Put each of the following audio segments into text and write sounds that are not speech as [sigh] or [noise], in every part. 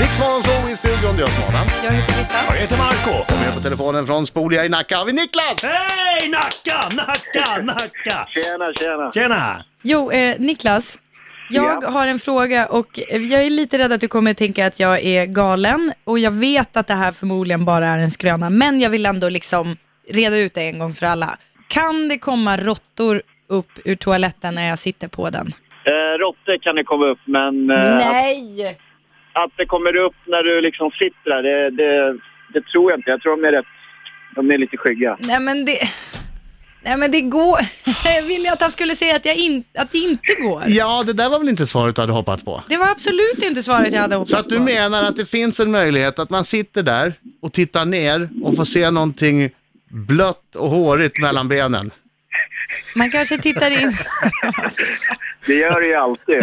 Riksmorgon så i studion, det är jag som är Adam. Jag heter Britta. Jag heter Marco. Med på telefonen från Spolia i Nacka har vi Niklas! Hej Nacka, Nacka, Nacka! Tjena, tjena. Tjena! Jo, eh, Niklas. Jag Ja. har en fråga och eh, jag är lite rädd att du kommer tänka att jag är galen och jag vet att det här förmodligen bara är en skröna men jag vill ändå liksom reda ut det en gång för alla. Kan det komma råttor upp ur toaletten när jag sitter på den? Eh, Råttor kan det komma upp, men eh, att, Nej! att det kommer upp när du liksom sitter där, det, det, det tror jag inte. Jag tror de är rätt... De är lite skygga. Nej men det... Nej men det går... [laughs] Jag ville att han skulle säga att, jag in... att det inte går. Ja, det där var väl inte svaret du hade hoppats på? Det var absolut inte svaret jag hade hoppats Så att du på. menar att det finns en möjlighet att man sitter där och tittar ner och får se någonting blött och hårigt mellan benen? Man kanske tittar in... Det gör det ju alltid.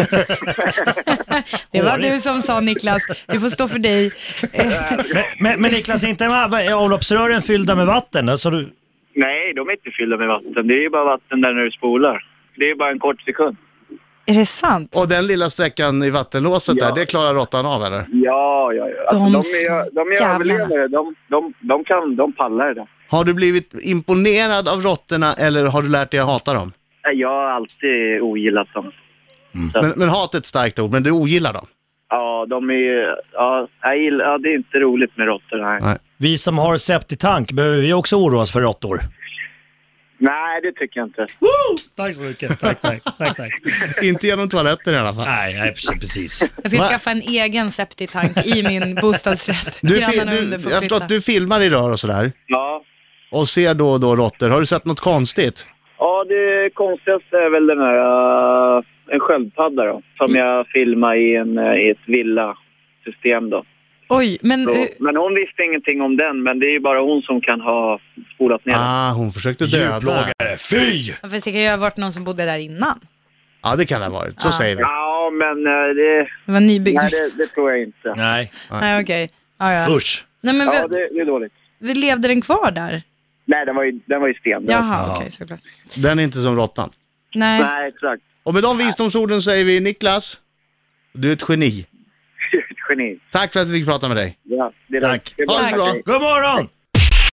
Det var Hårigt. du som sa Niklas, det får stå för [laughs] dig. Eh, Men, men, men Niklas, inte är avloppsrören fyllda med vatten? Alltså du... Nej, de är inte fyllda med vatten. Det är ju bara vatten där när du spolar. Det är bara en kort sekund. Är det sant? Och den lilla sträckan i vattenlåset Ja. där, det klarar råttan av eller? Ja, ja, ja. De är, de är jävlarna. överlevare. De, de, de kan... De pallar det där. Har du blivit imponerad av råttorna eller har du lärt dig att hata dem? Nej, Jag har alltid ogillat dem. Men, men hat är ett starkt ord, men du ogillar dem? Ja, de är ju... Ja, jag gillar, ja, det är inte roligt med råttor. Nej. Nej. Vi som har septitank, behöver vi också oroa oss för råttor? nej, det tycker jag inte. Woo! Tack så mycket. Tack, tack, tack, tack. Inte genom toaletten i alla fall. Nej, nej, precis, precis. Jag ska Va? skaffa en egen septitank i min bostadsrätt. Du, fi- Grannarna under du, får jag förstår flytta. att du filmar i rör och sådär Ja, och ser då och då råttor. Har du sett något konstigt? Ja, det konstigaste är väl den här... eh, en sköldpadda då, som jag filmade i, en, eh, i ett villasystem då. Oj, men Så, eh, men hon visste ingenting om den, men det är ju bara hon som kan ha spolat ner den. Ah, hon försökte döda den. Djurplågare, fy! fast det kan ju ha varit någon som bodde där innan. Ja, det kan det ha varit. Så Ah. säger vi. Ja, men eh, det, Det var nybyggd. nej, det, det tror jag inte. Nej, Nej, okej. Ja, ja. usch. Nej, men Ja, vi, det, det är dåligt. vi levde den kvar där? Nej, den var ju, den var ju sten. Jaha, okej, såklart. Den är inte som råttan. Nej. Nej, exakt. [laughs] Och med de visdomsorden säger vi Niklas, du är ett geni. Geni. Tack för att vi fick prata med dig. Ja, det är Tack. det är Ha det så bra. God morgon!